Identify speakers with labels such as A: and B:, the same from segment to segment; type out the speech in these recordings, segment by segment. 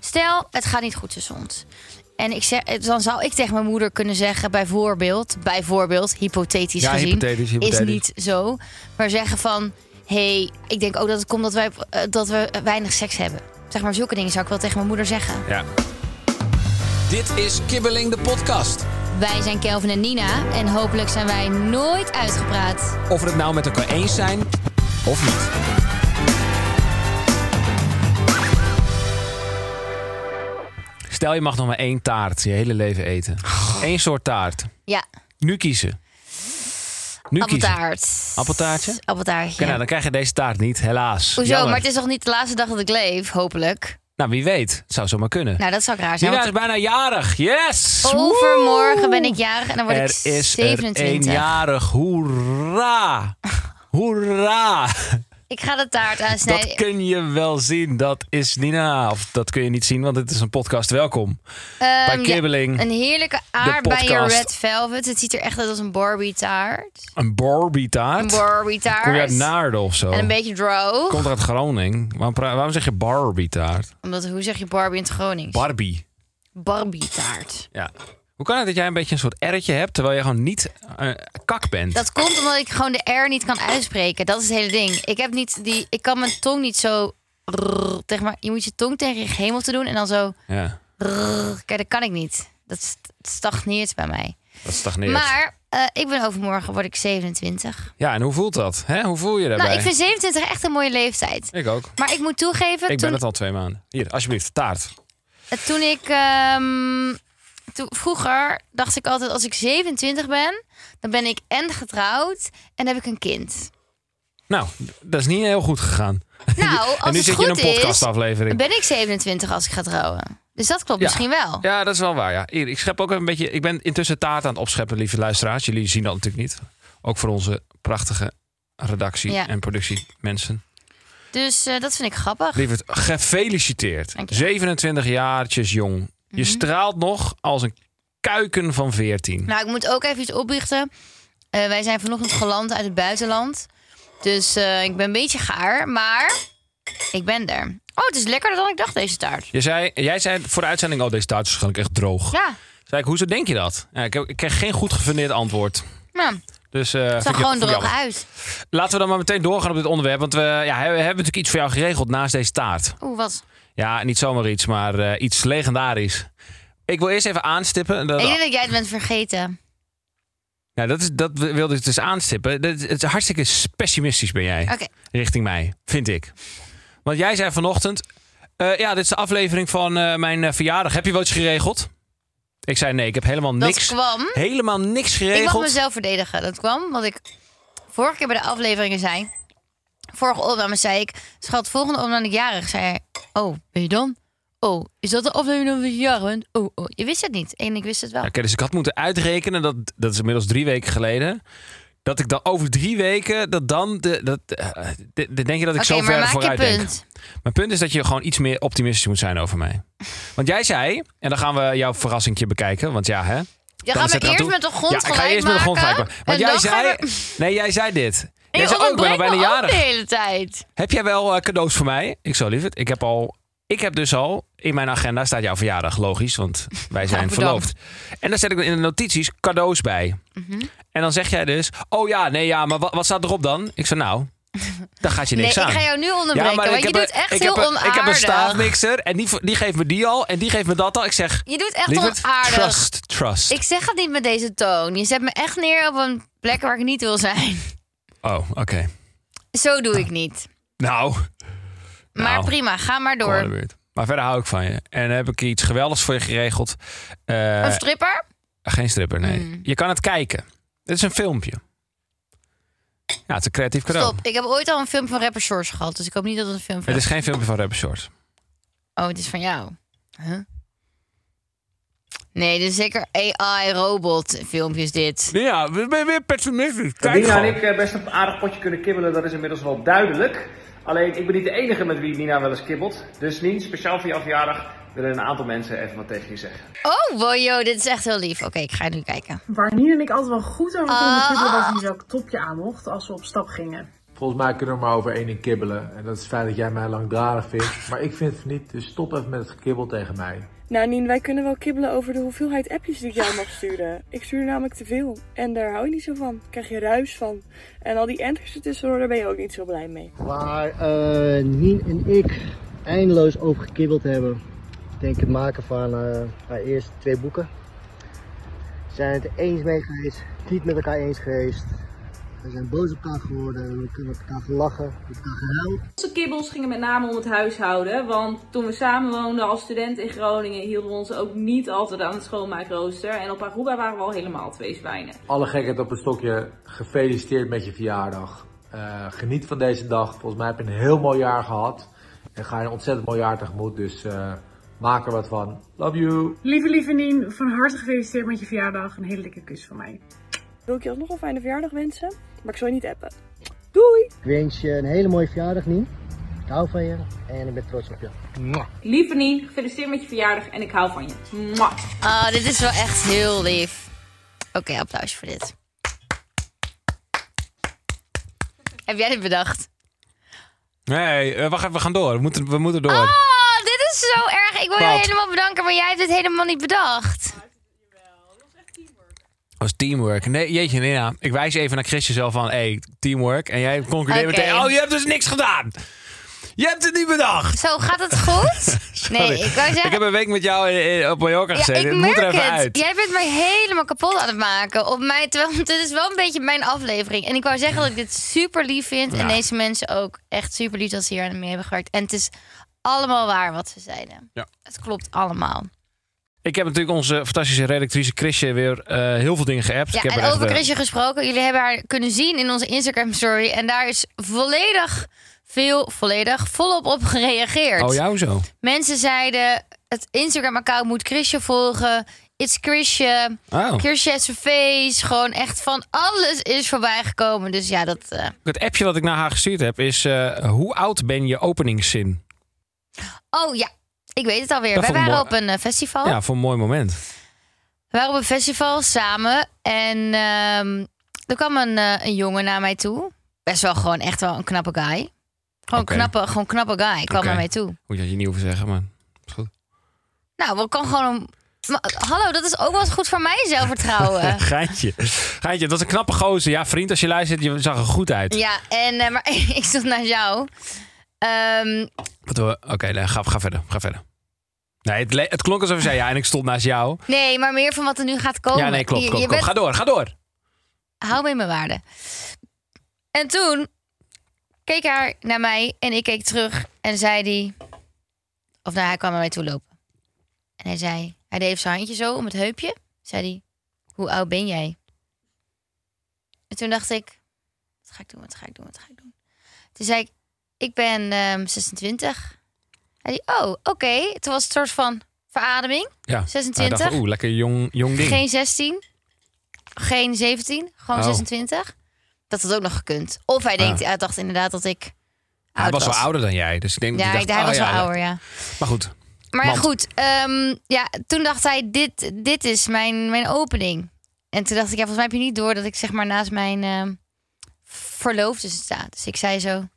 A: Stel, het gaat niet goed tussen ons. En ik zeg, eh, dan zou ik tegen mijn moeder kunnen zeggen, bijvoorbeeld, bijvoorbeeld hypothetisch
B: Ja,
A: gezien,
B: hypothetisch, hypothetisch.
A: is niet zo. Maar zeggen van, hé, hey, ik denk ook dat het komt dat, wij, eh, dat we weinig seks hebben. Zeg maar, zulke dingen zou ik wel tegen mijn moeder zeggen.
B: Ja.
C: Dit is Kibbeling de podcast.
A: Wij zijn Kelvin en Nina en hopelijk zijn wij nooit uitgepraat.
C: Of we het nou met elkaar eens zijn of niet.
B: Stel je mag nog maar één taart je hele leven eten. Eén soort taart.
A: Ja,
B: Nu kiezen. Nu kiezen.
A: appeltaart.
B: Appeltaartje? Oké,
A: Appeltaartje.
B: nou, dan krijg je deze taart niet, helaas.
A: Hoezo?
B: Jammer.
A: Maar het is toch niet de laatste dag dat ik leef, hopelijk?
B: Nou, wie weet. Het zou zomaar kunnen.
A: Nou, dat zou ik raar zijn.
B: Nina
A: want
B: is bijna jarig. Yes!
A: Overmorgen ben ik jarig en dan word
B: Er
A: ik
B: is er
A: 27.
B: eenjarig. Hoera! Hoera!
A: Ik ga de taart aansnijden.
B: Dat kun je wel zien. Dat is Nina. Of dat kun je niet zien, want het is een podcast. Welkom. bij
A: Ehm, ja,
B: Kibbeling.
A: een heerlijke aardbeier
B: podcast.
A: red velvet. Het ziet er echt uit als een Barbie taart.
B: Een Barbie
A: Een
B: taart.
A: Barbie taart.
B: Kom je uit Naarden of zo?
A: En een beetje droog.
B: Komt uit Groningen. Waarom, pra- waarom zeg je Barbie taart?
A: Omdat, hoe zeg je Barbie in het Gronings?
B: Barbie.
A: Barbie taart.
B: Ja. Hoe kan het dat jij een beetje een soort erretje hebt, terwijl je gewoon niet eh, kak bent?
A: Dat komt omdat ik gewoon de R niet kan uitspreken. Dat is het hele ding. Ik, heb niet die, ik kan mijn tong niet zo... rrr, Zeg maar, je moet je tong tegen je hemel te doen en dan zo...
B: Ja,
A: rrr, Kijk, dat kan ik niet. Dat st- stagneert bij mij.
B: dat stagneert.
A: Maar eh, ik ben overmorgen, word ik 27.
B: Ja, en hoe voelt dat? Hè? Hoe voel je daarbij?
A: Nou, ik vind 27 echt een mooie leeftijd.
B: Ik ook.
A: Maar ik moet toegeven,
B: Ik ben
A: toen, eh,
B: het al twee maanden. Hier, alsjeblieft, taart.
A: toen ik... ehm, toen, vroeger dacht ik altijd, als ik 27 ben, dan ben ik en getrouwd en heb ik een kind.
B: Nou, dat is niet heel goed gegaan.
A: Nou,
B: en
A: als
B: nu
A: het
B: zit
A: goed
B: je in een
A: is, dan
B: podcastaflevering.
A: ben ik 27 als ik ga trouwen. Dus dat klopt
B: Ja.
A: misschien wel.
B: Ja, dat is wel waar. Ja. Hier, ik schep ook even een beetje. Ik ben intussen taart aan het opscheppen, lieve luisteraars. Jullie zien dat natuurlijk niet. Ook voor onze prachtige redactie
A: Ja.
B: en productiemensen.
A: Dus eh, dat vind ik grappig.
B: Lieverd, gefeliciteerd.
A: Dank je. Mhm.
B: 27 jaartjes jong. Je straalt nog als een kuiken van 14.
A: Nou, ik moet ook even iets oplichten. Eh, wij zijn vanochtend geland uit het buitenland. Dus eh, ik ben een beetje gaar, maar ik ben er. Oh, het is lekkerder dan ik dacht, deze taart.
B: Je zei, jij zei voor de uitzending, oh deze taart is waarschijnlijk echt droog.
A: Ja,
B: Zei ik, hoezo denk je dat? Ja, ik, heb- ik kreeg geen goed gefundeerd antwoord.
A: nou,
B: Dus, eh, vind
A: het
B: ik-
A: zag gewoon
B: vind ik jammer.
A: droog uit.
B: Laten we dan maar meteen doorgaan op dit onderwerp. Want we, ja, we hebben natuurlijk iets voor jou geregeld naast deze taart.
A: Oeh, wat.
B: Ja, niet zomaar iets, maar eh, iets legendarisch. Ik wil eerst even aanstippen. Dat,
A: Ik denk dat jij het bent vergeten.
B: nou, dat, is, dat wilde ik dus aanstippen. Dat, is- het is hartstikke pessimistisch ben jij.
A: Oké,
B: richting mij, vind ik. Want jij zei vanochtend... eh, ja, dit is de aflevering van eh, mijn eh, verjaardag. Heb je wel iets geregeld? Ik zei nee, ik heb helemaal
A: dat
B: niks,
A: kwam.
B: helemaal niks
A: Ik mag
B: geregeld.
A: mezelf verdedigen. Dat kwam, want ik vorige keer bij de afleveringen zei... Vorige opname zei ik, schat, volgende opname ik jarig. Zei hij, oh, ben je dan? Oh, is dat de aflevering dat je jarig bent? Oh, oh, je wist het niet. En ik wist het wel.
B: Ja, Oké, dus ik had moeten uitrekenen, dat, dat is inmiddels drie weken geleden... dat ik dan over drie weken, dat dan... De, dat, eh, de- de- denk je dat ik
A: Oké,
B: zo
A: maar
B: ver
A: maak
B: vooruit
A: je
B: denk?
A: punt.
B: Mijn punt is dat je gewoon iets meer optimistisch moet zijn over mij. Want jij zei, en dan gaan we jouw verrassingje bekijken, want ja hè...
A: Je
B: Dan
A: gaat
B: is
A: me
B: het eraan
A: eerst
B: toe.
A: met de grond
B: ja, ik ga je eerst met de grond gelijk maken. Want jij zei, nee, jij zei dit. Jij
A: Ik
B: zei, oh, ik ben al
A: onderbreek
B: bijna
A: me ook de
B: jarig.
A: hele tijd.
B: Heb jij wel eh, cadeaus voor mij? Ik zou lieverd. Ik heb al, ik heb dus al in mijn agenda staat jouw verjaardag, logisch, want wij zijn
A: bedankt.
B: verloofd. En daar zet ik in de notities cadeaus bij.
A: Mhm.
B: En dan zeg jij dus, oh ja, nee, ja, maar wat, wat staat erop dan? Ik zei, nou, daar gaat je
A: Nee, ik
B: niks aan.
A: ga jou nu onderbreken, want je
B: heb een-
A: doet echt
B: ik
A: heel
B: heb een- Ik heb een
A: onaardig.
B: staafmixer en die, die geeft me die al en die geeft me dat al. Ik zeg,
A: Je doet echt
B: lieverd,
A: onaardig.
B: trust, trust.
A: Ik zeg het niet met deze toon. Je zet me echt neer op een plek waar ik niet wil zijn.
B: Oh, oké.
A: Zo doe ik niet.
B: Nou,
A: Maar
B: Nou.
A: prima, ga maar
B: kom maar aan
A: door.
B: de beurt. Maar verder hou ik van je. En heb ik iets geweldigs voor je geregeld. Eh,
A: Een stripper?
B: geen stripper, nee.
A: Mm.
B: Je kan het kijken. Dit is een filmpje. Ja, het is een creatief cadeau.
A: Stop. Ik heb ooit al een filmpje van rapper Source gehad. Dus ik hoop niet dat het een film van...
B: Het is geen filmpje van Rapper Shorts.
A: Oh, het is van jou. Huh? Nee, dit is zeker AI-robot filmpjes dit.
B: Ja, we zijn weer pessimistisch.
D: Nina en ik eh, best een aardig potje kunnen kibbelen, dat is inmiddels wel duidelijk. Alleen, ik ben niet de enige met wie Nina wel eens kibbelt. Dus Nien, speciaal voor jouw verjaardag willen een aantal mensen even wat tegen je zeggen.
A: Oh, wow, yo, dit is echt heel lief. Oké, ik ga nu kijken.
E: Waar Nien en ik altijd wel goed over konden kibbelen was in welk topje aan mocht als we op stap gingen.
F: Volgens mij kunnen we maar over één ding kibbelen. En dat is het feit dat jij mij langdradig vindt. Maar ik vind het niet, dus stop even met het gekibbel tegen mij.
G: Nou Nien, wij kunnen wel kibbelen over de hoeveelheid appjes die ik jou mag sturen. Ik stuur namelijk te veel en daar hou je niet zo van. Daar krijg je ruis van. En al die enters ertussendoor, daar ben je ook niet zo blij mee.
H: Waar eh, Nien en ik eindeloos over gekibbeld hebben. Ik denk het maken van eh, haar eerste twee boeken. We zijn het er eens mee geweest, niet met elkaar eens geweest. We zijn boos op elkaar geworden, we kunnen op elkaar gelachen, op elkaar gehuild.
I: Onze kibbels gingen met name om het huishouden. Want toen we samen woonden als student in Groningen hielden we ons ook niet altijd aan het schoonmaakrooster. En op Aruba waren we al helemaal twee zwijnen.
F: Alle gekheid op een stokje. Gefeliciteerd met je verjaardag. Eh, geniet van deze dag. Volgens mij heb je een heel mooi jaar gehad. En ga je een ontzettend mooi jaar tegemoet. Dus eh, maak er wat van. Love you.
E: Lieve, lieve Nien, van harte gefeliciteerd met je verjaardag. Een hele dikke kus van mij.
G: Wil ik je alsnog een fijne verjaardag wensen, maar ik zal je niet appen. Doei!
H: Ik wens je een hele mooie verjaardag Nien. Ik hou van je en ik ben trots op je. Mwah.
I: Lieve Nien, gefeliciteerd met je verjaardag en ik hou van je. Mwah.
A: Oh, dit is wel echt heel lief. Oké, applaus voor dit. Heb jij dit bedacht?
B: Nee, eh, wacht even, we gaan door. We moeten, we moeten door.
A: Oh, dit is zo erg. Ik wil jou
B: Wat?
A: helemaal bedanken, maar jij hebt dit helemaal niet bedacht.
B: Als teamwork. Nee, jeetje, nee, ja. Ik wijs even naar Chrisje zelf van, hey, teamwork. En jij concludeert
A: Oké.
B: meteen, oh, je hebt dus niks gedaan. Je hebt het niet bedacht.
A: Zo, gaat het goed?
B: Sorry.
A: Nee, ik wou zeggen...
B: Ik heb een week met jou in- in- op Mallorca
A: ja,
B: gezeten.
A: ik
B: Het
A: merk
B: moet er even
A: het.
B: uit.
A: Jij bent mij helemaal kapot aan het maken. Op mij, terwijl, dit is wel een beetje mijn aflevering. En ik wou zeggen dat ik dit super lief vind. En
B: Ja.
A: deze mensen ook echt super lief dat ze hier aan mee hebben gewerkt. En het is allemaal waar wat ze zeiden.
B: Ja.
A: Het klopt allemaal.
B: Ik heb natuurlijk onze fantastische redactrice Chrisje weer eh, heel veel dingen geappt.
A: Ja,
B: ik heb
A: en
B: er echt,
A: over
B: eh,
A: Chrisje gesproken. Jullie hebben haar kunnen zien in onze Instagram story. En daar is volledig veel, volledig volop op gereageerd.
B: Oh, jou zo.
A: Mensen zeiden, het Instagram-account moet Chrisje volgen. It's Chrisje.
B: Oh.
A: Chrisje face. Gewoon echt van alles is voorbij gekomen. Dus ja, dat... eh,
B: Het appje wat ik naar haar gestuurd heb is... eh, hoe oud ben je openingszin?
A: Oh ja, ik weet het alweer.
B: Dat
A: Wij
B: vond ik
A: waren op
B: mooi.
A: een eh, festival.
B: Ja, voor een mooi moment.
A: We waren op een festival samen en ehm, er kwam een, eh, een jongen naar mij toe. Best wel gewoon echt wel een knappe guy. Gewoon
B: Oké.
A: knappe, gewoon knappe guy kwam
B: Oké.
A: naar mij toe.
B: Moet je dat je niet hoeven zeggen, maar... is goed.
A: Nou, we kan gewoon. een- Maar, hallo, dat is ook wel eens goed voor mijn zelfvertrouwen.
B: Geintje. Geintje, dat was een knappe gozer. Ja, vriend, als je luistert, je zag er goed uit.
A: ja, en eh, maar ik zat naar jou. Ehm,
B: Wat we- Oké, nee, ga, ga verder. Ga verder. Nee, het, le- het klonk alsof je zei ja en ik stond naast jou.
A: nee, maar meer van wat er nu gaat komen.
B: ja, nee, klopt,
A: Oh, Je-
B: klopt,
A: je
B: klopt.
A: bent-
B: Ga door, ga door.
A: hou me in mijn waarde. En toen keek hij naar mij en ik keek terug en zei hij... Of nou, hij kwam naar mij toe lopen. En hij zei, hij deed even zijn handje zo om het heupje. Zei hij, hoe oud ben jij? En toen dacht ik, wat ga ik doen, wat ga ik doen, wat ga ik doen? Toen zei ik, ik ben ehm, 26. Hij zei, oh, oké. Toen was het een soort van verademing.
B: Ja.
A: 26?
B: Nou, ik dacht, Oeh, lekker jong, jong ding.
A: Geen 16. Geen 17. Gewoon
B: Oh. Ah.
A: 26. Dat had ook nog gekund. Of hij, denkt, hij dacht inderdaad dat ik
B: hij
A: oud
B: was
A: was.
B: wel ouder dan jij. Dus ik denk dat
A: Ja,
B: hij
A: ik-
B: dacht,
A: hij
B: oh
A: was
B: ja,
A: wel ouder, ja.
B: Maar goed.
A: Maar ja,
B: Want-
A: goed, ehm, ja, toen dacht hij, dit, dit is mijn, mijn opening. En toen dacht ik, ja, volgens mij heb je niet door dat ik zeg maar naast mijn ehm, verloofde sta. Dus ik zei zo,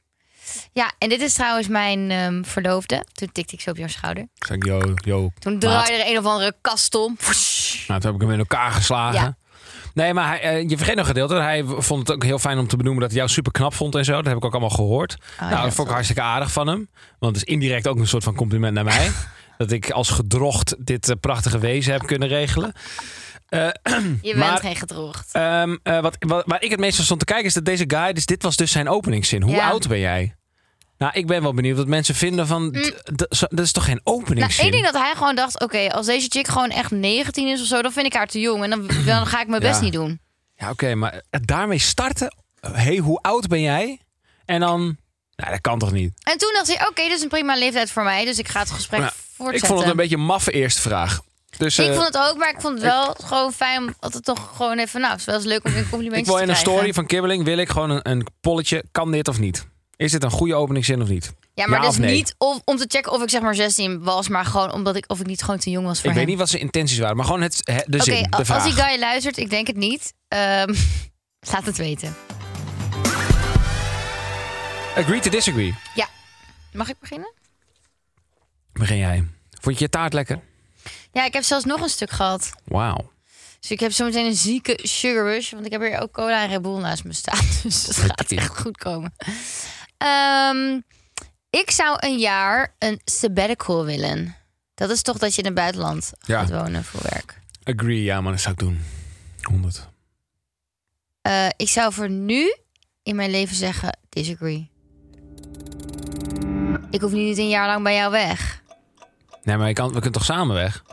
A: ja, en dit is trouwens mijn ehm, verloofde. Toen tikte ik zo op jouw schouder.
B: Ik zei, yo, yo.
A: Toen
B: maat.
A: draaide er een of andere kast om.
B: Nou, toen heb ik hem in elkaar geslagen.
A: Ja.
B: Nee, maar hij, eh, je vergeet nog een gedeelte. Hij w- vond het ook heel fijn om te benoemen dat hij jou super knap vond en zo. Dat heb ik ook allemaal gehoord. nou,
A: Oh, ja,
B: dat vond ik hartstikke aardig van hem. Want het is indirect ook een soort van compliment naar mij. dat ik als gedrocht dit eh, prachtige wezen heb kunnen regelen.
A: Je bent
B: Maar-
A: geen gedroogd.
B: Ehm, eh, wat, wat, waar ik het meest van stond te kijken is dat deze guy... Dus dit was dus zijn openingszin. Hoe
A: Ja.
B: oud ben jij? Nou, ik ben wel benieuwd wat mensen vinden van... d- d- zo- Dat is toch geen
A: Mm. Nou,
B: openingszin?
A: ik denk dat hij gewoon dacht: oké, als deze chick gewoon echt 19 is of zo, dan vind ik haar te jong. En dan, dan ga ik mijn best
B: Ja.
A: niet doen.
B: Ja, oké, maar het daarmee starten hey, hoe oud ben jij? En dan, nou, dat kan toch niet?
A: En toen dacht hij, oké, dit is een prima leeftijd voor mij. Dus ik ga het gesprek
B: Nou, ik
A: voortzetten.
B: vond het een beetje een maffe eerste vraag. Dus, eh,
A: ik vond het ook, maar ik vond het wel gewoon fijn om altijd toch gewoon even... Nou, het is wel eens leuk om een complimentje
B: ik wil
A: te
B: in een
A: krijgen.
B: story van Kibbeling wil ik gewoon een, een polletje. Kan dit of niet? Is dit een goede openingszin of niet?
A: Ja, maar dus
B: of nee?
A: niet om, om te checken of ik zeg maar 16 was, maar gewoon omdat ik of ik niet gewoon te jong was
B: Ik
A: voor
B: weet
A: hem.
B: niet wat zijn intenties waren, maar gewoon het, he- de
A: Oké,
B: zin, de
A: als
B: vraag.
A: die guy luistert, ik denk het niet. Ehm, laat het weten.
B: Agree to disagree.
A: Ja. Mag ik beginnen?
B: Begin jij. Vond je je taart lekker?
A: Ja, ik heb zelfs nog een stuk gehad.
B: Wauw.
A: Dus ik heb zometeen een zieke sugar rush. Want ik heb hier ook cola en Red Bull naast me staan. Dus dat gaat echt goed komen. Ehm, ik zou een jaar een sabbatical willen. Dat is toch dat je in het buitenland
B: Ja.
A: gaat wonen voor werk.
B: Agree, ja man, dat zou ik doen. 100.
A: Eh, ik zou voor nu in mijn leven zeggen disagree. Ik hoef nu niet een jaar lang bij jou weg.
B: Nee, maar je kan, we kunnen toch samen weg?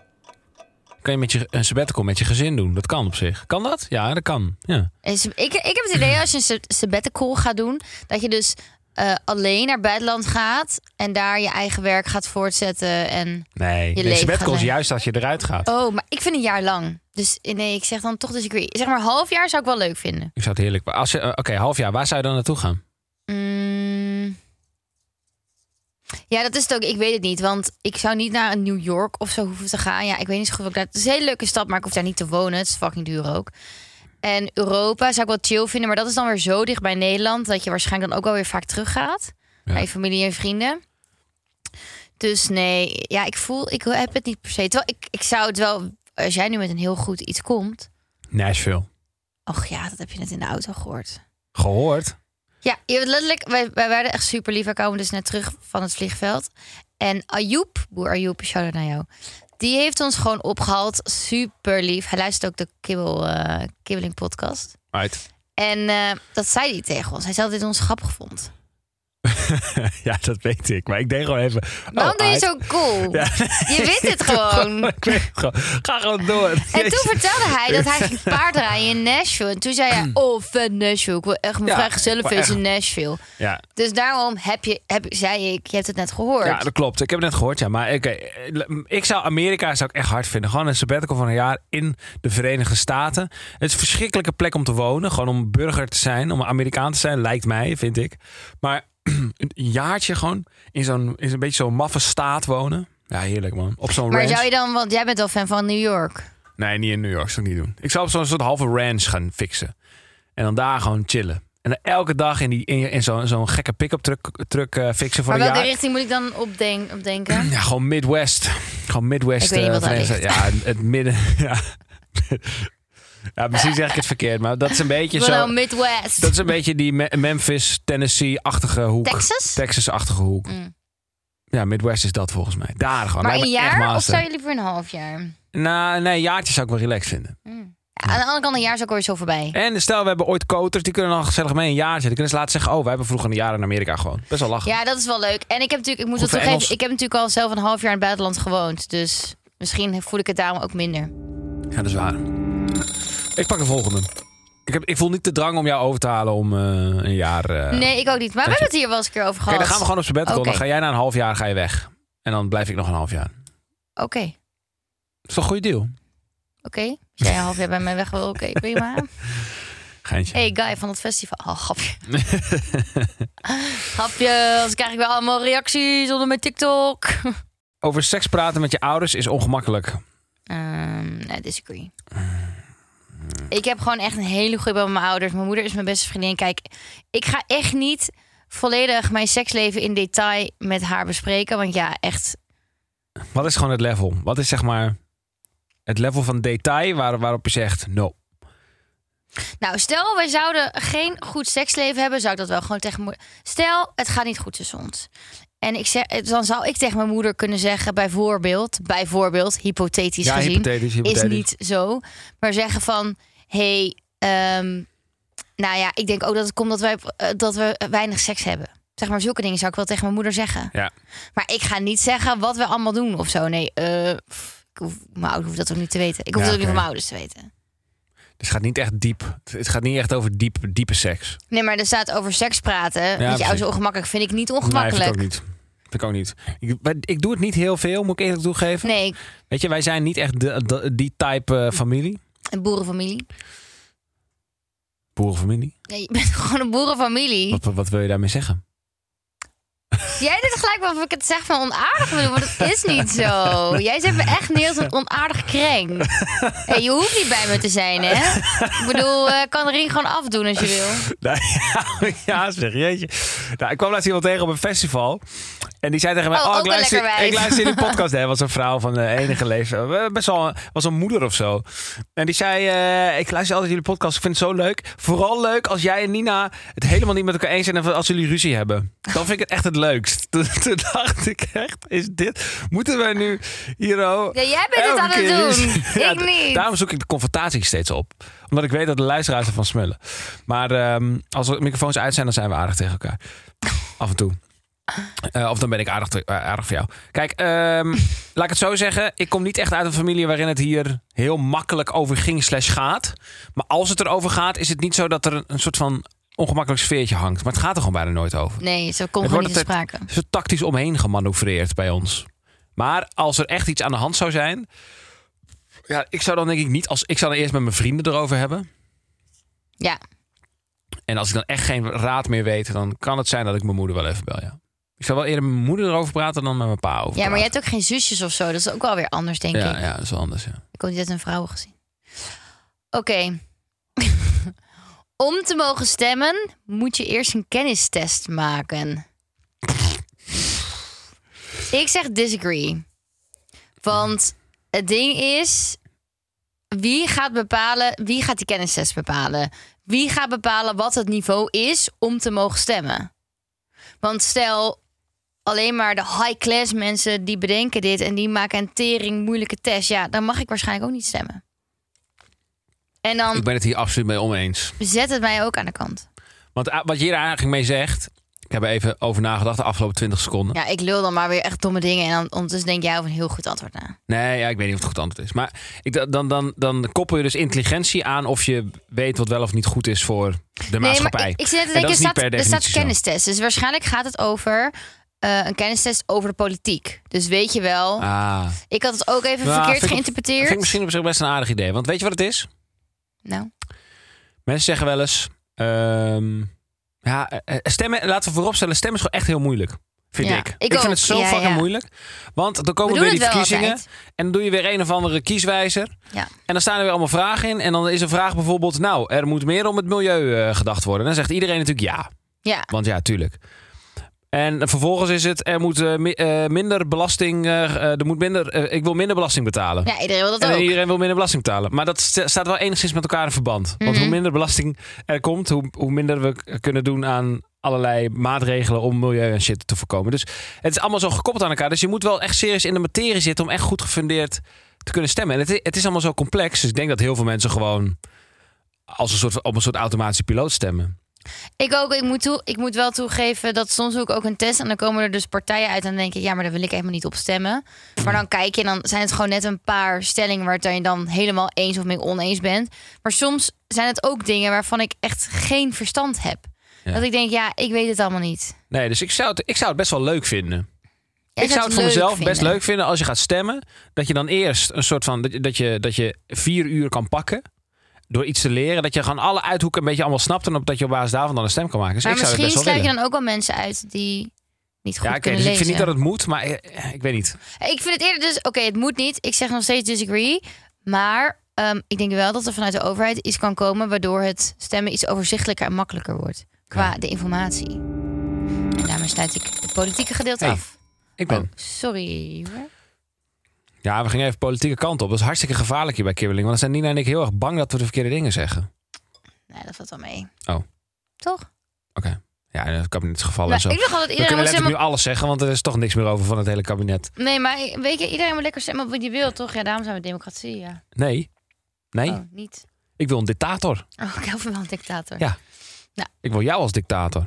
B: Kan je met je, een sabbatical met je gezin doen? Dat kan op zich. Kan dat? Ja, dat kan. Ja.
A: Is- Ik, ik heb het idee als je een sab- sabbatical gaat doen, dat je dus eh, alleen naar het buitenland gaat en daar je eigen werk gaat voortzetten. En
B: Nee,
A: Je
B: nee
A: leven
B: sabbatical is
A: alleen.
B: juist dat je eruit gaat.
A: oh, maar ik vind een jaar lang. Dus eh, nee, ik zeg dan toch disagree. Zeg maar een half jaar zou ik wel leuk vinden.
B: Ik zou het heerlijk... Als je, eh, Oké, half jaar. Waar zou je dan naartoe gaan?
A: Mm. Ja, dat is het ook. Ik weet het niet. Want ik zou niet naar een New York of zo hoeven te gaan. Ja, ik weet niet zo goed of ik daar... Het is een hele leuke stad, maar ik hoef daar niet te wonen. Het is fucking duur ook. En Europa zou ik wel chill vinden. Maar dat is dan weer zo dicht bij Nederland... dat je waarschijnlijk dan ook wel weer vaak teruggaat. Naar je familie en vrienden. Dus nee, ja, ik voel... Ik heb het niet per se. Terwijl ik, ik zou het wel... Als jij nu met een heel goed iets komt...
B: Nashville.
A: Och ja, dat heb je net in de auto gehoord.
B: Gehoord?
A: Ja, je hebt letterlijk, wij, wij werden echt super lief. Wij kwamen dus net terug van het vliegveld. En Ayoub, boer Ayoub, shout out naar jou. Die heeft ons gewoon opgehaald. Super lief. Hij luistert ook de Kibbel, eh, Kibbeling podcast.
B: Uit.
A: En eh, dat zei hij tegen ons. Hij zei dat dit ons grappig
B: Oh,
A: vond.
B: ja, dat weet ik. Maar ik denk gewoon even...
A: Waarom
B: oh,
A: doe je
B: uit.
A: zo cool?
B: Ja,
A: Je wint het gewoon.
B: Ik weet het gewoon. Ga gewoon door.
A: En toen vertelde hij dat hij ging paardrijden in Nashville. En toen zei hij, oh vet Nashville. Ik wil echt mijn
B: Ja,
A: vrijgezellenfeest
B: ik wil
A: in Nashville.
B: Ja.
A: Dus daarom heb je, heb, zei ik, je hebt het net gehoord.
B: Ja, dat klopt. Ik heb het net gehoord, ja. Maar oké, ik zou Amerika zou ik echt hard vinden. Gewoon een sabbatical van een jaar in de Verenigde Staten. Het is een verschrikkelijke plek om te wonen. Gewoon om burger te zijn, om Amerikaan te zijn, lijkt mij, vind ik. Maar een jaartje gewoon in zo'n in een beetje zo'n maffe staat wonen. Ja, heerlijk man. Op zo'n
A: Maar
B: ranch.
A: zou je dan, want jij bent wel fan van New York.
B: Nee, niet in New York. Zou ik niet doen. Ik zou op zo'n soort halve ranch gaan fixen. En dan daar gewoon chillen. En dan elke dag in, die, in, in zo'n zo'n gekke pick-up truck, truck eh, fixen voor
A: Maar
B: een
A: welke
B: jaar.
A: richting moet ik dan opden- opdenken?
B: Ja, gewoon Midwest. Gewoon Midwest.
A: Ik weet niet
B: eh,
A: wat daar
B: Verenigde-
A: ligt.
B: Ja, het midden. Ja. ja, misschien zeg ik het verkeerd, maar dat is een beetje
A: Wel nou
B: zo.
A: Midwest.
B: Dat is een beetje die Me- Memphis, Tennessee-achtige hoek.
A: Texas?
B: Texas-achtige hoek.
A: Mm.
B: Ja, Midwest is dat volgens mij. Daar gewoon.
A: maar
B: Lijkt
A: een
B: me Nou, echt
A: jaar of
B: master.
A: zou je liever een half jaar?
B: Nou, nee, een jaartje zou ik wel relaxed vinden.
A: Mm. Ja, aan de andere kant, een jaar is ook alweer zo voorbij.
B: En stel, we hebben ooit koters, die kunnen dan gezellig mee een jaartje. Die kunnen ze laten zeggen, oh, wij hebben vroeger een jaar in Amerika gewoon. Best wel lachen.
A: Ja, dat is wel leuk. En ik heb natuurlijk, ik moet wel
B: Goed voor
A: toegeven,
B: Engels.
A: ik heb natuurlijk al zelf een half jaar in het buitenland gewoond. Dus misschien voel ik het daarom ook minder.
B: Ja, dat is waar. Ik pak de volgende. Ik, heb, ik voel niet de drang om jou over te halen om eh, een jaar... eh,
A: nee, ik ook niet. Maar we
B: dat
A: hebben het hier wel eens een keer over
B: Oké,
A: gehad.
B: dan gaan we gewoon op sabbatical.
A: Oké.
B: Dan ga jij na een half jaar ga je weg. En dan blijf ik nog een half jaar. Dat
A: Oké,
B: is toch een goede deal?
A: oké. Als jij een half jaar bij mij weg wil, oké, prima.
B: Geintje.
A: Hey guy van het festival. Oh, grapje. grapje, anders krijg ik wel allemaal reacties onder mijn TikTok.
B: Over seks praten met je ouders is ongemakkelijk.
A: Ehm nee, disagree. Ik heb gewoon echt een hele goede bij mijn ouders. Mijn moeder is mijn beste vriendin. Kijk, ik ga echt niet volledig mijn seksleven in detail met haar bespreken. Want ja, echt.
B: Wat is gewoon het level? Wat is zeg maar het level van detail waar, waarop je zegt no?
A: Nou, stel, wij zouden geen goed seksleven hebben, zou ik dat wel gewoon tegen mijn moeder. Stel, het gaat niet goed tussen ons. En ik zeg, eh, dan zou ik tegen mijn moeder kunnen zeggen, bijvoorbeeld, bijvoorbeeld, hypothetisch
B: Ja,
A: gezien,
B: hypothetisch, hypothetisch.
A: is niet zo. Maar zeggen van, hey, ehm, nou ja, ik denk ook dat het komt dat, wij, eh, dat we weinig seks hebben. Zeg maar, zulke dingen zou ik wel tegen mijn moeder zeggen.
B: Ja.
A: Maar ik ga niet zeggen wat we allemaal doen of zo. Nee, eh, pff, ik hoef, mijn ouders hoeven dat ook niet te weten. Ik hoef
B: Ja,
A: dat ook niet
B: oké.
A: van mijn ouders te weten.
B: Dus het gaat niet echt diep. Het- Het gaat niet echt over diep, diepe seks.
A: Nee, maar er staat over seks praten. met je
B: precies.
A: ouders ongemakkelijk vind ik niet
B: Nee,
A: ongemakkelijk.
B: vind ik ook niet. Vind ik ook niet. Ik, maar ik doe het niet heel veel, moet ik eerlijk toegeven.
A: Nee,
B: Weet je, wij zijn niet echt de, de- die type eh, familie.
A: een boerenfamilie.
B: Boerenfamilie.
A: Ja, je bent gewoon een boerenfamilie.
B: Wat, wat wil je daarmee zeggen?
A: Jij doet gelijk wel of ik het zeg van onaardig bedoel, maar dat is niet zo. Jij zet me echt neer als een onaardig kreng. Hey, je hoeft niet bij me te zijn, hè? Ik bedoel, eh, kan de ring gewoon afdoen als je wil.
B: Nou, ja, ja, zeg, jeetje. Nou, ik kwam laatst iemand tegen op een festival. En die zei tegen mij,
A: Oh,
B: oh,
A: ook
B: ik,
A: een
B: luister,
A: lekker wijf.
B: ik luister in de podcast. Hij was een vrouw van de enige leven. Best wel een- was een moeder of zo. En die zei, eh, ik luister altijd jullie podcast. Ik vind het zo leuk. Vooral leuk als jij en Nina het helemaal niet met elkaar eens zijn. En als jullie ruzie hebben. Dan vind ik het echt het leukst. Toen, toen dacht ik echt, is dit... Moeten wij nu hier... oh,
A: Ja, jij bent het
B: elke
A: aan het
B: keer
A: doen.
B: ruzie? Ja,
A: Ik niet.
B: Daarom zoek ik de confrontatie steeds op. Omdat ik weet dat de luisteraars ervan smullen. Maar ehm, als er microfoons uit zijn, dan zijn we aardig tegen elkaar. Af en toe. Eh, of dan ben ik aardig, te- eh, aardig voor jou. Kijk, ehm, laat ik het zo zeggen. Ik kom niet echt uit een familie waarin het hier heel makkelijk over ging slash gaat. Maar als het erover gaat, is het niet zo dat er een- een soort van ongemakkelijk sfeertje hangt. Maar het gaat er gewoon bijna nooit over.
A: Nee, zo komt
B: Het
A: gewoon
B: wordt
A: niet te
B: altijd
A: sprake.
B: zo tactisch omheen gemanoeuvreerd bij ons. Maar als er echt iets aan de hand zou zijn. Ja, ik zou dan denk ik niet als. Ik zou dan eerst met mijn vrienden erover hebben.
A: Ja,
B: En als ik dan echt geen raad meer weet, dan kan het zijn dat ik mijn moeder wel even bel. Ja. Ik zou wel eerder met mijn moeder erover praten dan met mijn pa. Over
A: ja maar jij hebt ook geen zusjes of zo. Dat is ook wel weer anders, denk
B: praten.
A: ik.
B: Ja, ja, dat is wel anders. Ja.
A: Ik heb niet uit een vrouw gezien. Oké. Om te mogen stemmen moet je eerst een kennistest maken. Ik zeg disagree. Want het ding is, wie gaat bepalen, wie gaat die kennistest bepalen? Wie gaat bepalen wat het niveau is om te mogen stemmen? Want stel, alleen maar de high-class mensen die bedenken dit en die maken een tering moeilijke test, ja, dan mag ik waarschijnlijk ook niet stemmen. En dan
B: Ik ben het hier absoluut mee oneens.
A: zet het mij ook aan de kant.
B: Want ah, wat je hier eigenlijk mee zegt. Ik heb er even over nagedacht de afgelopen 20 seconden.
A: Ja, ik lul dan maar weer echt domme dingen en dan ondertussen denk jij over een heel goed antwoord na.
B: Nee, ja, ik weet niet of het goed antwoord is. Maar ik, da- dan, dan, dan koppel je dus intelligentie aan of je weet wat wel of niet goed is voor de maatschappij.
A: maar ik, ik zit net te
B: En dat
A: denken,
B: is
A: er
B: niet
A: staat,
B: per
A: er staat
B: definitie zo.
A: kennistest. Dus waarschijnlijk gaat het over eh, een kennistest over de politiek. Dus weet je wel,
B: Ah.
A: ik had het ook even
B: Nou, vind ik
A: verkeerd
B: op-
A: geïnterpreteerd.
B: Vind ik misschien op zich best een aardig idee. Want weet je wat het is?
A: Nou,
B: Mensen zeggen wel eens... ehm, ja, eh, eh, stemmen, laten we vooropstellen, stemmen is gewoon echt heel moeilijk. Vind
A: Ja,
B: ik.
A: ik
B: Ik, vind
A: ook.
B: het zo
A: Ja,
B: fucking
A: ja.
B: moeilijk. Want dan komen
A: We
B: weer
A: doen
B: die
A: het wel
B: verkiezingen.
A: altijd.
B: En dan doe je weer een of andere kieswijzer.
A: ja.
B: En dan staan er weer allemaal vragen in. En dan is een vraag bijvoorbeeld... Nou, er moet meer om het milieu eh, gedacht worden. En dan zegt iedereen natuurlijk ja.
A: ja.
B: Want ja, tuurlijk. En vervolgens is het, er moet eh, mi- eh, minder belasting, eh, eh, er moet minder, eh, ik wil minder belasting betalen.
A: Ja, iedereen wil dat
B: En
A: ook.
B: iedereen wil minder belasting betalen. Maar dat st- staat wel enigszins met elkaar in verband. Want hoe minder belasting er komt, hoe, hoe minder we k- kunnen doen aan allerlei maatregelen om milieu en shit te voorkomen. Dus het is allemaal zo gekoppeld aan elkaar. Dus je moet wel echt serieus in de materie zitten om echt goed gefundeerd te kunnen stemmen. En het, i- het is allemaal zo complex. Dus ik denk dat heel veel mensen gewoon als een soort, op een soort automatische piloot stemmen.
A: Ik ook. Ik moet, toe, ik moet wel toegeven dat soms doe ik ook een test. En dan komen er dus partijen uit. En dan denk ik, ja, maar daar wil ik helemaal niet op stemmen. Maar dan kijk je en dan zijn het gewoon net een paar stellingen... waar je dan helemaal eens of mee oneens bent. Maar soms zijn het ook dingen waarvan ik echt geen verstand heb.
B: Ja.
A: Dat ik denk, ja, ik weet het allemaal niet.
B: Nee, dus ik zou het, ik zou het best wel leuk vinden.
A: Jij
B: ik zou het voor
A: leuk
B: mezelf best
A: vinden.
B: leuk vinden als je gaat stemmen. Dat je dan eerst een soort van. dat je- dat je, dat je vier uur kan pakken. Door iets te leren. Dat je gewoon alle uithoeken een beetje allemaal snapt. En op, dat je op basis daarvan dan een stem kan maken. Dus
A: Maar
B: ik zou het
A: misschien
B: best wel
A: sluit je
B: willen.
A: dan ook wel mensen uit die niet goed
B: ja, oké.
A: kunnen
B: dus ik
A: lezen.
B: vind niet dat het moet. Maar eh, ik weet niet.
A: Ik vind het eerder dus, oké, het moet niet. Ik zeg nog steeds disagree. Maar ehm, ik denk wel dat er vanuit de overheid iets kan komen... waardoor het stemmen iets overzichtelijker en makkelijker wordt. Qua de informatie. En daarmee sluit ik het politieke gedeelte
B: Hey,
A: af.
B: Ik
A: Oh.
B: ben.
A: Sorry hoor.
B: Ja, we gingen even politieke kant op. Dat is hartstikke gevaarlijk hier bij Kibbeling. Want dan zijn Nina en ik heel erg bang dat we de verkeerde dingen zeggen.
A: Nee, dat valt wel mee.
B: Oh.
A: Toch?
B: Oké. Ja, in het kabinetsgeval en
A: Nou,
B: zo.
A: ik dacht altijd,
B: we
A: iedereen
B: kunnen
A: moet
B: letterlijk nu
A: helemaal...
B: alles zeggen. Want er is toch niks meer over van het hele kabinet.
A: Nee, maar weet je, iedereen moet lekker stemmen op wat hij wil, toch? Ja, daarom zijn we democratie, ja.
B: Nee. Nee.
A: Oh, niet.
B: Ik wil een dictator.
A: Oh, ik hou van wel een dictator.
B: Ja.
A: Nou.
B: Ik wil jou als dictator.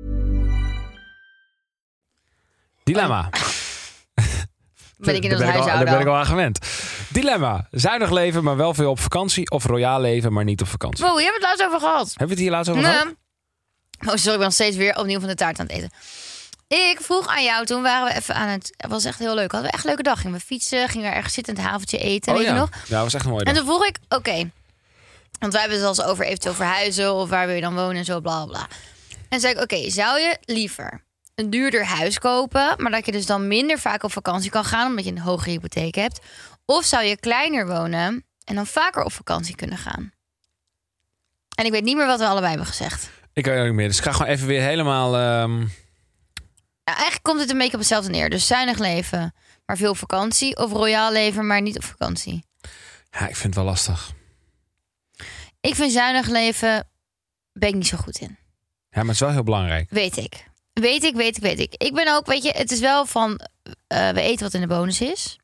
A: Oh,
B: Dilemma.
A: Ben ik in ons
B: Daar ben ik al-
A: huishouden
B: Daar ben ik
A: al.
B: al aan gewend. Dilemma. Zuinig leven, maar wel veel op vakantie. Of royaal leven, maar niet op vakantie.
A: Wow, hier hebben we het laatst over gehad.
B: Hebben we het hier laatst over
A: Nou,
B: gehad?
A: Oh, sorry, ik ben nog steeds weer opnieuw van de taart aan het eten. Ik vroeg aan jou, toen waren we even aan het... Het was echt heel leuk. Hadden we echt een leuke dag. Gingen we fietsen, gingen we ergens zitten in het haventje eten,
B: Oh
A: weet
B: ja.
A: je nog?
B: Ja, dat was echt een mooie
A: En
B: dag.
A: toen vroeg ik, oké. want wij hebben het wel eens over eventueel verhuizen... of waar wil je dan wonen en zo, bla, bla, bla. En zei ik, oké, zou je liever een duurder huis kopen... maar dat je dus dan minder vaak op vakantie kan gaan... omdat je een hogere hypotheek hebt? Of zou je kleiner wonen en dan vaker op vakantie kunnen gaan? En ik weet niet meer wat we allebei hebben gezegd.
B: Ik weet het ook niet meer. Dus ik ga gewoon even weer helemaal... ehm,
A: Nou, eigenlijk komt het een beetje op hetzelfde neer. Dus zuinig leven, maar veel op vakantie. Of royaal leven, maar niet op vakantie.
B: Ja, ik vind het wel lastig.
A: Ik vind zuinig leven, ben ik niet zo goed in.
B: Ja, maar het is wel heel belangrijk.
A: Weet ik. Weet ik, weet ik, weet ik. Ik ben ook, weet je, het is wel van, eh, we eten wat in de bonus is.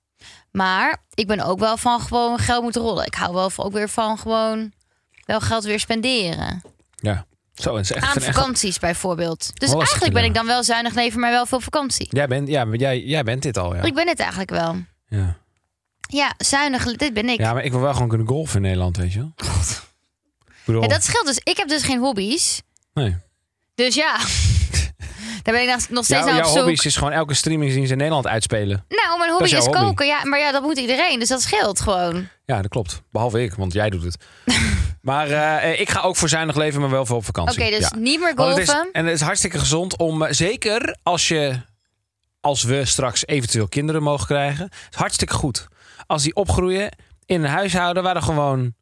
A: Maar ik ben ook wel van gewoon geld moeten rollen. Ik hou wel van, ook weer van gewoon wel geld weer spenderen.
B: Ja. Zo, het is echt
A: Aan
B: een echt-
A: vakanties bijvoorbeeld. Dus
B: Wel lastig
A: eigenlijk ben ik
B: dilemma.
A: dan wel zuinig leven, maar wel veel op vakantie.
B: Jij bent, ja, maar jij, jij bent dit al, ja.
A: Ik ben het eigenlijk wel.
B: Ja.
A: Ja, zuinig, le- dit ben ik.
B: Ja, maar ik wil wel gewoon kunnen golfen in Nederland, weet je wel. Ik bedoel,
A: Ja, dat scheelt dus. Ik heb dus geen hobby's.
B: Nee.
A: Dus ja, daar ben ik nog- nog steeds
B: jouw,
A: naar op
B: jouw
A: zoek.
B: hobby's is gewoon elke streamingdienst in Nederland uitspelen.
A: Nou, mijn
B: Dat is
A: hobby
B: jouw
A: is
B: hobby.
A: koken. Ja, maar ja, dat moet iedereen. Dus dat scheelt gewoon.
B: Ja, dat klopt. Behalve ik, want jij doet het. maar eh, ik ga ook voor zuinig leven, maar wel voor op vakantie.
A: Oké, dus
B: Ja.
A: niet meer
B: Want het is-
A: golfen.
B: en het is hartstikke gezond om, eh, zeker als je, als we straks eventueel kinderen mogen krijgen, het is hartstikke goed. Als die opgroeien in een huishouden waar er gewoon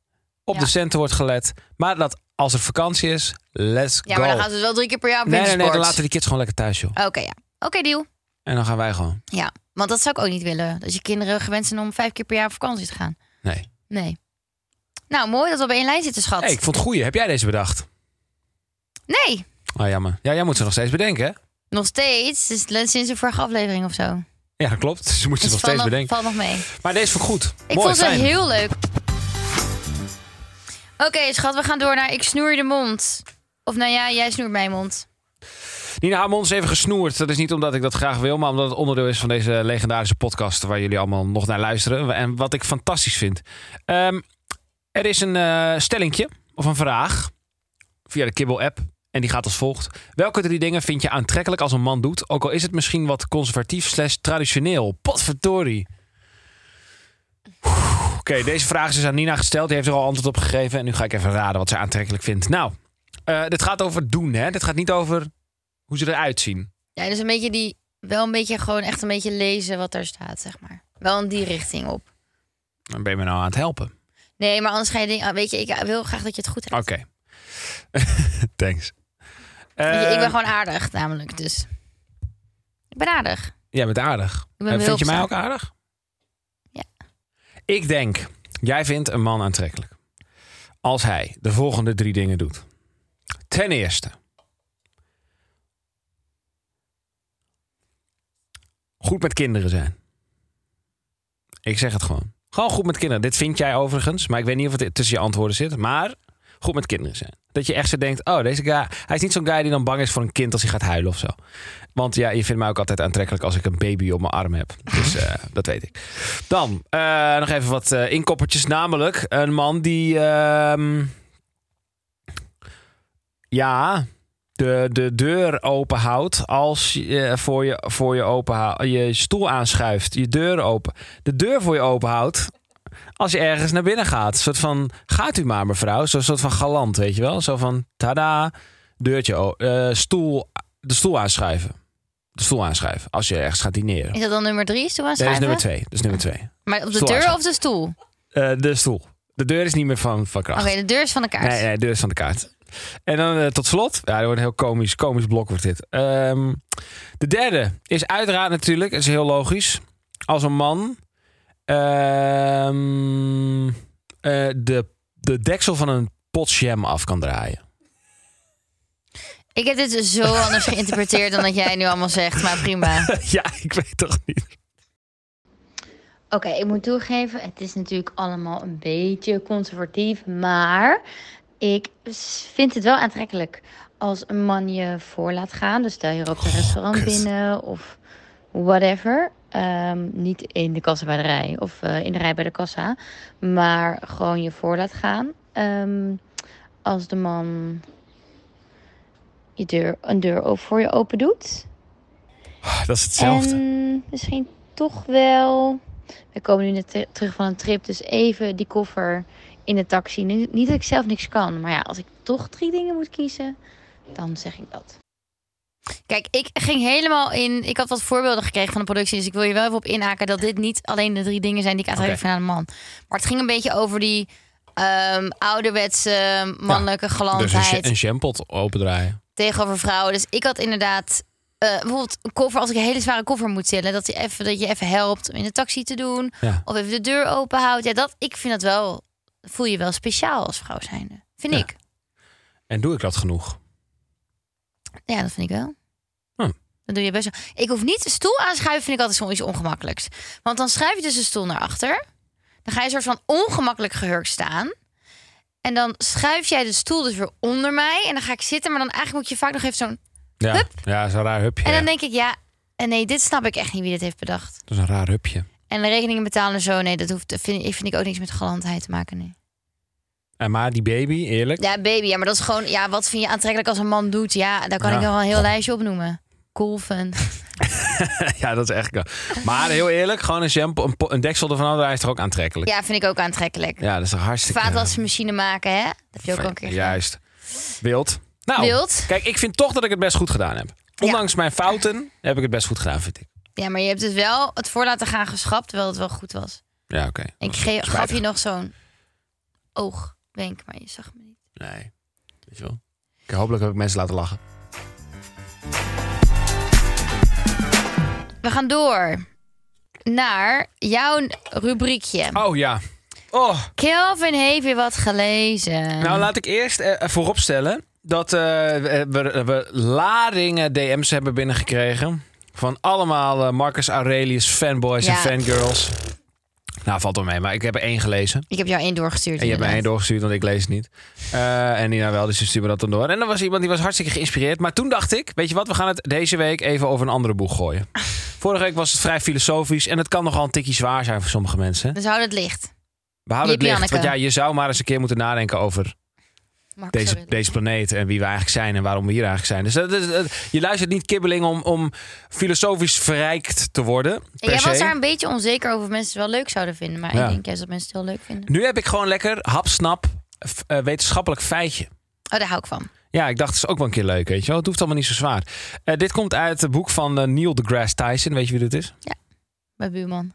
B: op de centen wordt gelet, maar dat als er vakantie is, let's
A: Ja,
B: go.
A: maar dan gaan ze dus wel drie keer per jaar op
B: nee, nee, nee,
A: wintersport.
B: dan laten we die kids gewoon lekker thuis, joh.
A: Oké, ja. Oké, deal.
B: En dan gaan wij gewoon.
A: Ja, want dat zou ik ook niet willen. Dat je kinderen gewend zijn om vijf keer per jaar op vakantie te gaan.
B: Nee.
A: Nee. Nou, mooi dat we op één lijn zitten, schat.
B: Hey, ik vond het goeie. Heb jij deze bedacht?
A: Nee,
B: Oh, jammer. Ja, jij moet ze nog steeds bedenken, hè?
A: nog steeds. Dus sinds de vorige aflevering of zo.
B: Ja, dat klopt. Ze moeten
A: Dus
B: ze nog
A: val nog-
B: steeds bedenken.
A: val nog mee.
B: Maar deze vond ik goed.
A: Ik
B: Mooi,
A: vond ze
B: fijn.
A: heel leuk. Oké, schat, we gaan door naar ik snoer je de mond. Of nou ja, jij snoert mijn mond.
B: Nina Hamon is even gesnoerd. Dat is niet omdat ik dat graag wil, maar omdat het onderdeel is van deze legendarische podcast waar jullie allemaal nog naar luisteren. En wat ik fantastisch vind. Ehm, er is een eh stellingje of een vraag via de Kibbel-app. En die gaat als volgt. Welke drie dingen vind je aantrekkelijk als een man doet? Ook al is het misschien wat conservatief slash traditioneel. Potverdorie. Oeh, Oké, deze vraag is dus aan Nina gesteld. Die heeft er al antwoord op gegeven. En nu ga ik even raden wat ze aantrekkelijk vindt. Nou, eh, dit gaat over doen, hè? Dit gaat niet over hoe ze eruit zien.
A: Ja, dus een beetje die... Wel een beetje gewoon echt een beetje lezen wat daar staat, zeg maar. Wel in die richting op.
B: Dan ben je me nou aan het helpen.
A: Nee, maar anders ga je dingen... ah, Weet je, ik wil graag dat je het goed hebt.
B: Oké. Thanks.
A: Weet je, ik
B: Eh,
A: ben gewoon aardig, namelijk, dus... Ik ben aardig.
B: Jij bent aardig.
A: ben
B: Eh, vind je mij
A: behulpzaam.
B: ook aardig? Ja. Ik denk, jij vindt een man aantrekkelijk. Als hij de volgende drie dingen doet. Ten eerste. Goed met kinderen zijn. Ik zeg het gewoon. Gewoon goed met kinderen. Dit vind jij overigens, maar ik weet niet of het tussen je antwoorden zit. Maar goed met kinderen zijn. Dat je echt zo denkt, oh, deze guy... Hij is niet zo'n guy die dan bang is voor een kind als hij gaat huilen of zo. Want ja, je vindt mij ook altijd aantrekkelijk als ik een baby op mijn arm heb. Dus eh, dat weet ik. Dan eh, nog even wat eh, inkoppertjes. Namelijk een man die... ehm, ja, de, de deur open houdt als je eh, voor je, voor je, open hou- je stoel aanschuift. Je deur open. De deur voor je open houdt als je ergens naar binnen gaat. Een soort van, gaat u maar mevrouw. Zo'n soort van galant, weet je wel. Zo van, tada, deurtje, o- eh, stoel, de stoel aanschuiven. De stoel aanschuiven als je ergens gaat dineren.
A: Is dat dan nummer drie? Stoel
B: Nee, dat is
A: aanschuiven?
B: nummer twee. Dat is nummer twee.
A: Maar op de
B: Stoel
A: deur of
B: aanschuiven.
A: de stoel? Oké,
B: Eh, de stoel. De deur is niet meer van, van kracht.
A: de deur is van de kaart.
B: Nee, nee, deur is van de kaart. En dan eh, tot slot, ja, dat wordt een heel komisch, komisch blok wordt dit. Ehm, de derde is uiteraard natuurlijk, dat is heel logisch, als een man ehm, eh, de, de deksel van een pot jam af kan draaien.
A: Ik heb dit zo anders geïnterpreteerd dan dat jij nu allemaal zegt, maar prima.
B: ja, ik weet toch niet.
A: Oké, ik moet toegeven, het is natuurlijk allemaal een beetje conservatief, maar ik s- vind het wel aantrekkelijk als een man je voor laat gaan. Dus stel je rookt een restaurant binnen of whatever. Ehm, niet in de kassa bij de rij of eh, in de rij bij de kassa, maar gewoon je voor laat gaan. Ehm, als de man je deur, een deur ook voor je open doet.
B: Ah, Dat is hetzelfde.
A: En misschien toch wel. We komen nu net te- terug van een trip, dus even die koffer in de taxi. Nu- Niet dat ik zelf niks kan, maar ja, als ik toch drie dingen moet kiezen, dan zeg ik dat. Kijk, ik ging helemaal in. Ik had wat voorbeelden gekregen van de productie. Dus ik wil je wel even op inhaken dat dit niet alleen de drie dingen zijn die ik aantrekkelijk
J: Oké.
A: vind aan een man. Maar het ging een beetje over die ehm, ouderwetse mannelijke
B: Dus een,
A: galantheid
B: sha- een jampot opendraaien.
A: tegenover vrouwen. Dus ik had inderdaad eh, bijvoorbeeld een koffer, als ik een hele zware koffer moet tillen, dat, die even, dat je even helpt om in de taxi te doen.
B: Ja.
A: Of even de deur open houdt. Ja, dat, ik vind dat wel, voel je wel speciaal als vrouw zijnde. Vind ik.
B: En doe ik dat genoeg?
A: Ja, dat vind ik wel.
B: Hm.
A: Dat doe je best wel. Ik hoef niet een stoel aanschuiven, vind ik altijd zo'n iets ongemakkelijks. Want dan schuif je dus een stoel naar achter. Dan ga je een soort van ongemakkelijk gehurkt staan. En dan schuif jij de stoel dus weer onder mij. En dan ga ik zitten, maar dan eigenlijk moet je vaak nog even zo'n...
B: Ja,
A: Hup.
B: ja zo'n raar hupje.
A: En dan
B: ja.
A: denk ik, ja, eh, nee, dit snap ik echt niet wie dit heeft bedacht.
B: Dat is een raar hupje.
A: En de rekeningen betalen en zo, nee, dat hoeft, vind, ik- vind ik ook niks met galantheid te maken, nee.
B: En maar die baby, eerlijk.
A: Ja, baby, ja, maar dat is gewoon, ja, wat vind je aantrekkelijk als een man doet? Ja, daar kan
B: Ja.
A: ik nog wel een heel lijstje opnoemen. Golfen.
B: ja, dat is echt. wel. Maar heel eerlijk, gewoon een, shampoo, een, po- een deksel ervan afdraaien is toch ook aantrekkelijk?
A: Ja, vind ik ook aantrekkelijk.
B: Ja, dat is toch hartstikke...
A: Vaatwasmachine maken, hè? Dat heb je ook al een keer
B: Juist. Wild. Nou,
A: Wild.
B: kijk, ik vind toch dat ik het best goed gedaan heb. Ondanks mijn fouten heb ik het best goed gedaan, vind ik.
A: Ja, maar je hebt dus wel het voor laten gaan geschrapt, terwijl het wel goed was.
B: Ja, oké.
A: Ik ge-
B: Spijtig.
A: gaf je nog zo'n oogwenk, maar je zag me niet.
B: Nee, weet je wel. Ik hopelijk heb ik mensen laten lachen.
A: We gaan door naar jouw rubriekje.
B: Oh ja. Oh.
A: Kelvin heeft weer wat gelezen.
B: Nou, laat ik eerst eh, vooropstellen dat eh, we, we- we ladingen DM's hebben binnengekregen. Van allemaal eh, Marcus Aurelius fanboys en
A: Ja.
B: fangirls. Nou, valt wel mee, maar ik heb er één gelezen.
A: Ik heb jou één doorgestuurd.
B: En je hebt
A: inderdaad.
B: mij één doorgestuurd, want ik lees het niet. Eh, en Nina wel, dus ze stuurde dat dan door. En er was iemand die was hartstikke geïnspireerd. Maar toen dacht ik, weet je wat, we gaan het deze week even over een andere boeg gooien. Vorige week was het vrij filosofisch en het kan nogal een tikje zwaar zijn voor sommige mensen.
A: Dus hou het licht.
B: We houden het
A: Jip
B: licht, want
A: Janneke.
B: ja, je zou maar eens een keer moeten nadenken over
A: Mark
B: deze,
A: Aurelius.
B: deze planeet en wie we eigenlijk zijn en waarom we hier eigenlijk zijn. Dus dat, is- dat- je luistert niet kibbeling om, om filosofisch verrijkt te worden.
A: En
B: Per
A: jij
B: se.
A: was daar een beetje onzeker over of mensen het wel leuk zouden vinden. Maar
B: Ja.
A: ik denk juist dat mensen het heel leuk vinden.
B: Nu heb ik gewoon lekker hapsnap f- eh, wetenschappelijk feitje.
A: Oh, daar hou ik van.
B: Ja, ik dacht, het is ook wel een keer leuk, weet je wel. Het hoeft allemaal niet zo zwaar. Eh, dit komt uit het boek van eh, Neil deGrasse Tyson. Weet je wie dit is?
A: Mijn buurman.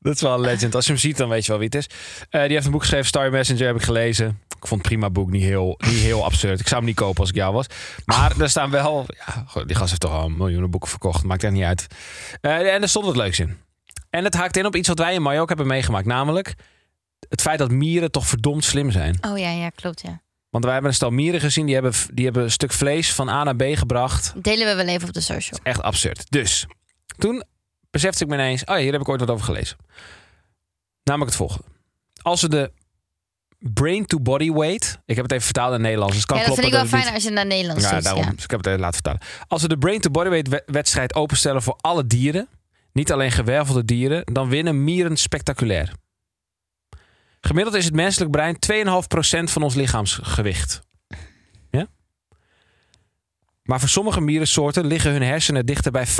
B: Dat is wel een legend. Als je hem ziet, dan weet je wel wie het is. Eh, die heeft een boek geschreven, Star Messenger, heb ik gelezen. Ik vond het prima boek, niet heel, niet heel absurd. Ik zou hem niet kopen als ik jou was. Maar er staan wel... Ja, goh, die gast heeft toch al miljoenen boeken verkocht. Maakt echt niet uit. Eh, en er stond wat leuks in. En het haakt in op iets wat wij in Mallorca hebben meegemaakt. Namelijk het feit dat mieren toch verdomd slim zijn.
A: Oh ja, ja, klopt ja.
B: Want wij hebben een stel mieren gezien. Die hebben, die hebben een stuk vlees van A naar B gebracht.
A: Delen we wel even op de social.
B: Echt absurd. Dus toen besefte ik me ineens: oh ja, hier heb ik ooit wat over gelezen. Namelijk het volgende: als we de brain-to-body weight. Ik heb het even vertaald in het Nederlands. Dus het kan
A: ja, dat vind
B: kloppen
A: ik wel
B: dat het
A: fijn
B: niet-
A: als je naar Nederlands
B: ja,
A: doet.
B: daarom.
A: Ja.
B: Dus ik heb het even laten vertalen. Als we de brain-to-body weight we- wedstrijd openstellen voor alle dieren, niet alleen gewervelde dieren, dan winnen mieren spectaculair. Gemiddeld is het menselijk brein 2,5% van ons lichaamsgewicht. Ja? Maar voor sommige mierensoorten liggen hun hersenen dichter bij 15%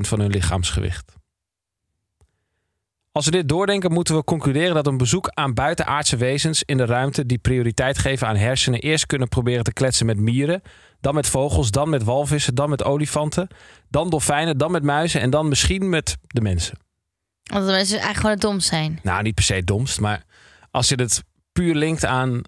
B: van hun lichaamsgewicht. Als we dit doordenken, moeten we concluderen dat een bezoek aan buitenaardse wezens in de ruimte die prioriteit geven aan hersenen eerst kunnen proberen te kletsen met mieren, dan met vogels, dan met walvissen, dan met olifanten, dan dolfijnen, dan met muizen en dan misschien met de mensen.
A: Want de mensen eigenlijk gewoon het dom zijn.
B: Nou, niet per se het domst, maar als je het puur linkt aan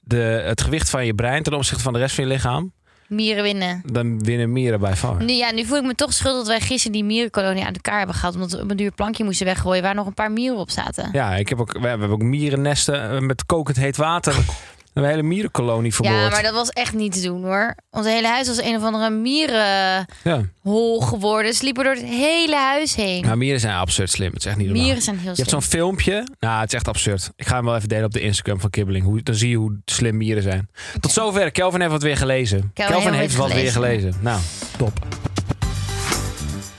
B: de, het gewicht van je brein ten opzichte van de rest van je lichaam,
A: Mieren winnen.
B: Dan winnen mieren bij far.
A: Nu, ja, nu voel ik me toch schuldig dat wij gisteren die mierenkolonie uit elkaar hebben gehaald. Omdat we op een duur plankje moesten weggooien waar nog een paar mieren op zaten.
B: Ja, ik heb ook, we hebben ook mierennesten eh, met kokend heet water. We hebben een hele mierenkolonie vermoord.
A: Ja, maar dat was echt niet te doen hoor. Ons hele huis was een of andere mierenhol
B: Ja.
A: geworden. Ze liepen door het hele huis heen.
B: Nou, mieren zijn absurd slim. Het is echt niet normaal.
A: Mieren zijn heel
B: Je hebt zo'n filmpje. Nou, het is echt absurd. Ik ga hem wel even delen op de Instagram van Kibbeling. Hoe, dan zie je hoe slim mieren zijn. Tot zover. Kelvin heeft wat weer gelezen.
A: Kelvin heeft
B: heeft
A: wat
B: wat weer
A: gelezen.
B: gelezen. Nou, top.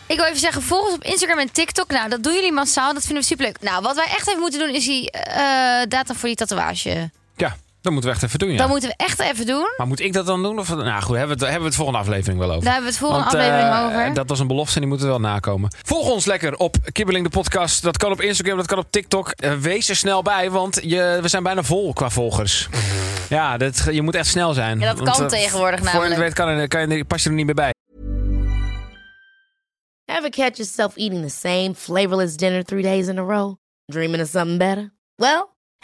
A: Ik wil even zeggen, volg ons op Instagram en TikTok. Nou, dat doen jullie massaal. Dat vinden we superleuk. Nou, wat wij echt even moeten doen is die eh data voor die tatoeage.
B: Ja, dat moeten we echt even doen. Ja.
A: Dat moeten we echt even doen.
B: Maar moet ik dat dan doen? Of, nou goed, hebben we, het, hebben we het volgende aflevering wel over.
A: Daar hebben we het volgende
B: Want, eh,
A: aflevering over.
B: Dat was een belofte en die moeten we wel nakomen. Volg ons lekker op Kibbeling de podcast. Dat kan op Instagram, dat kan op TikTok. Eh, wees er snel bij, want je, we zijn bijna vol qua volgers. Ja, dat, je moet echt snel zijn.
A: Ja, dat
B: Want,
A: kan
B: eh,
A: tegenwoordig
B: Voor je het
A: namelijk.
B: weet kan, er- kan je, pas je er niet meer bij.
K: Ever catch yourself eating the same flavorless dinner three days in a row? Dreaming of something better? Well,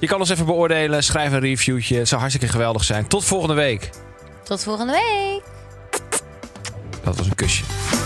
B: Je kan ons even beoordelen, schrijf een reviewtje. Het zou hartstikke geweldig zijn. Tot volgende week.
A: Tot volgende week.
B: Dat was een kusje.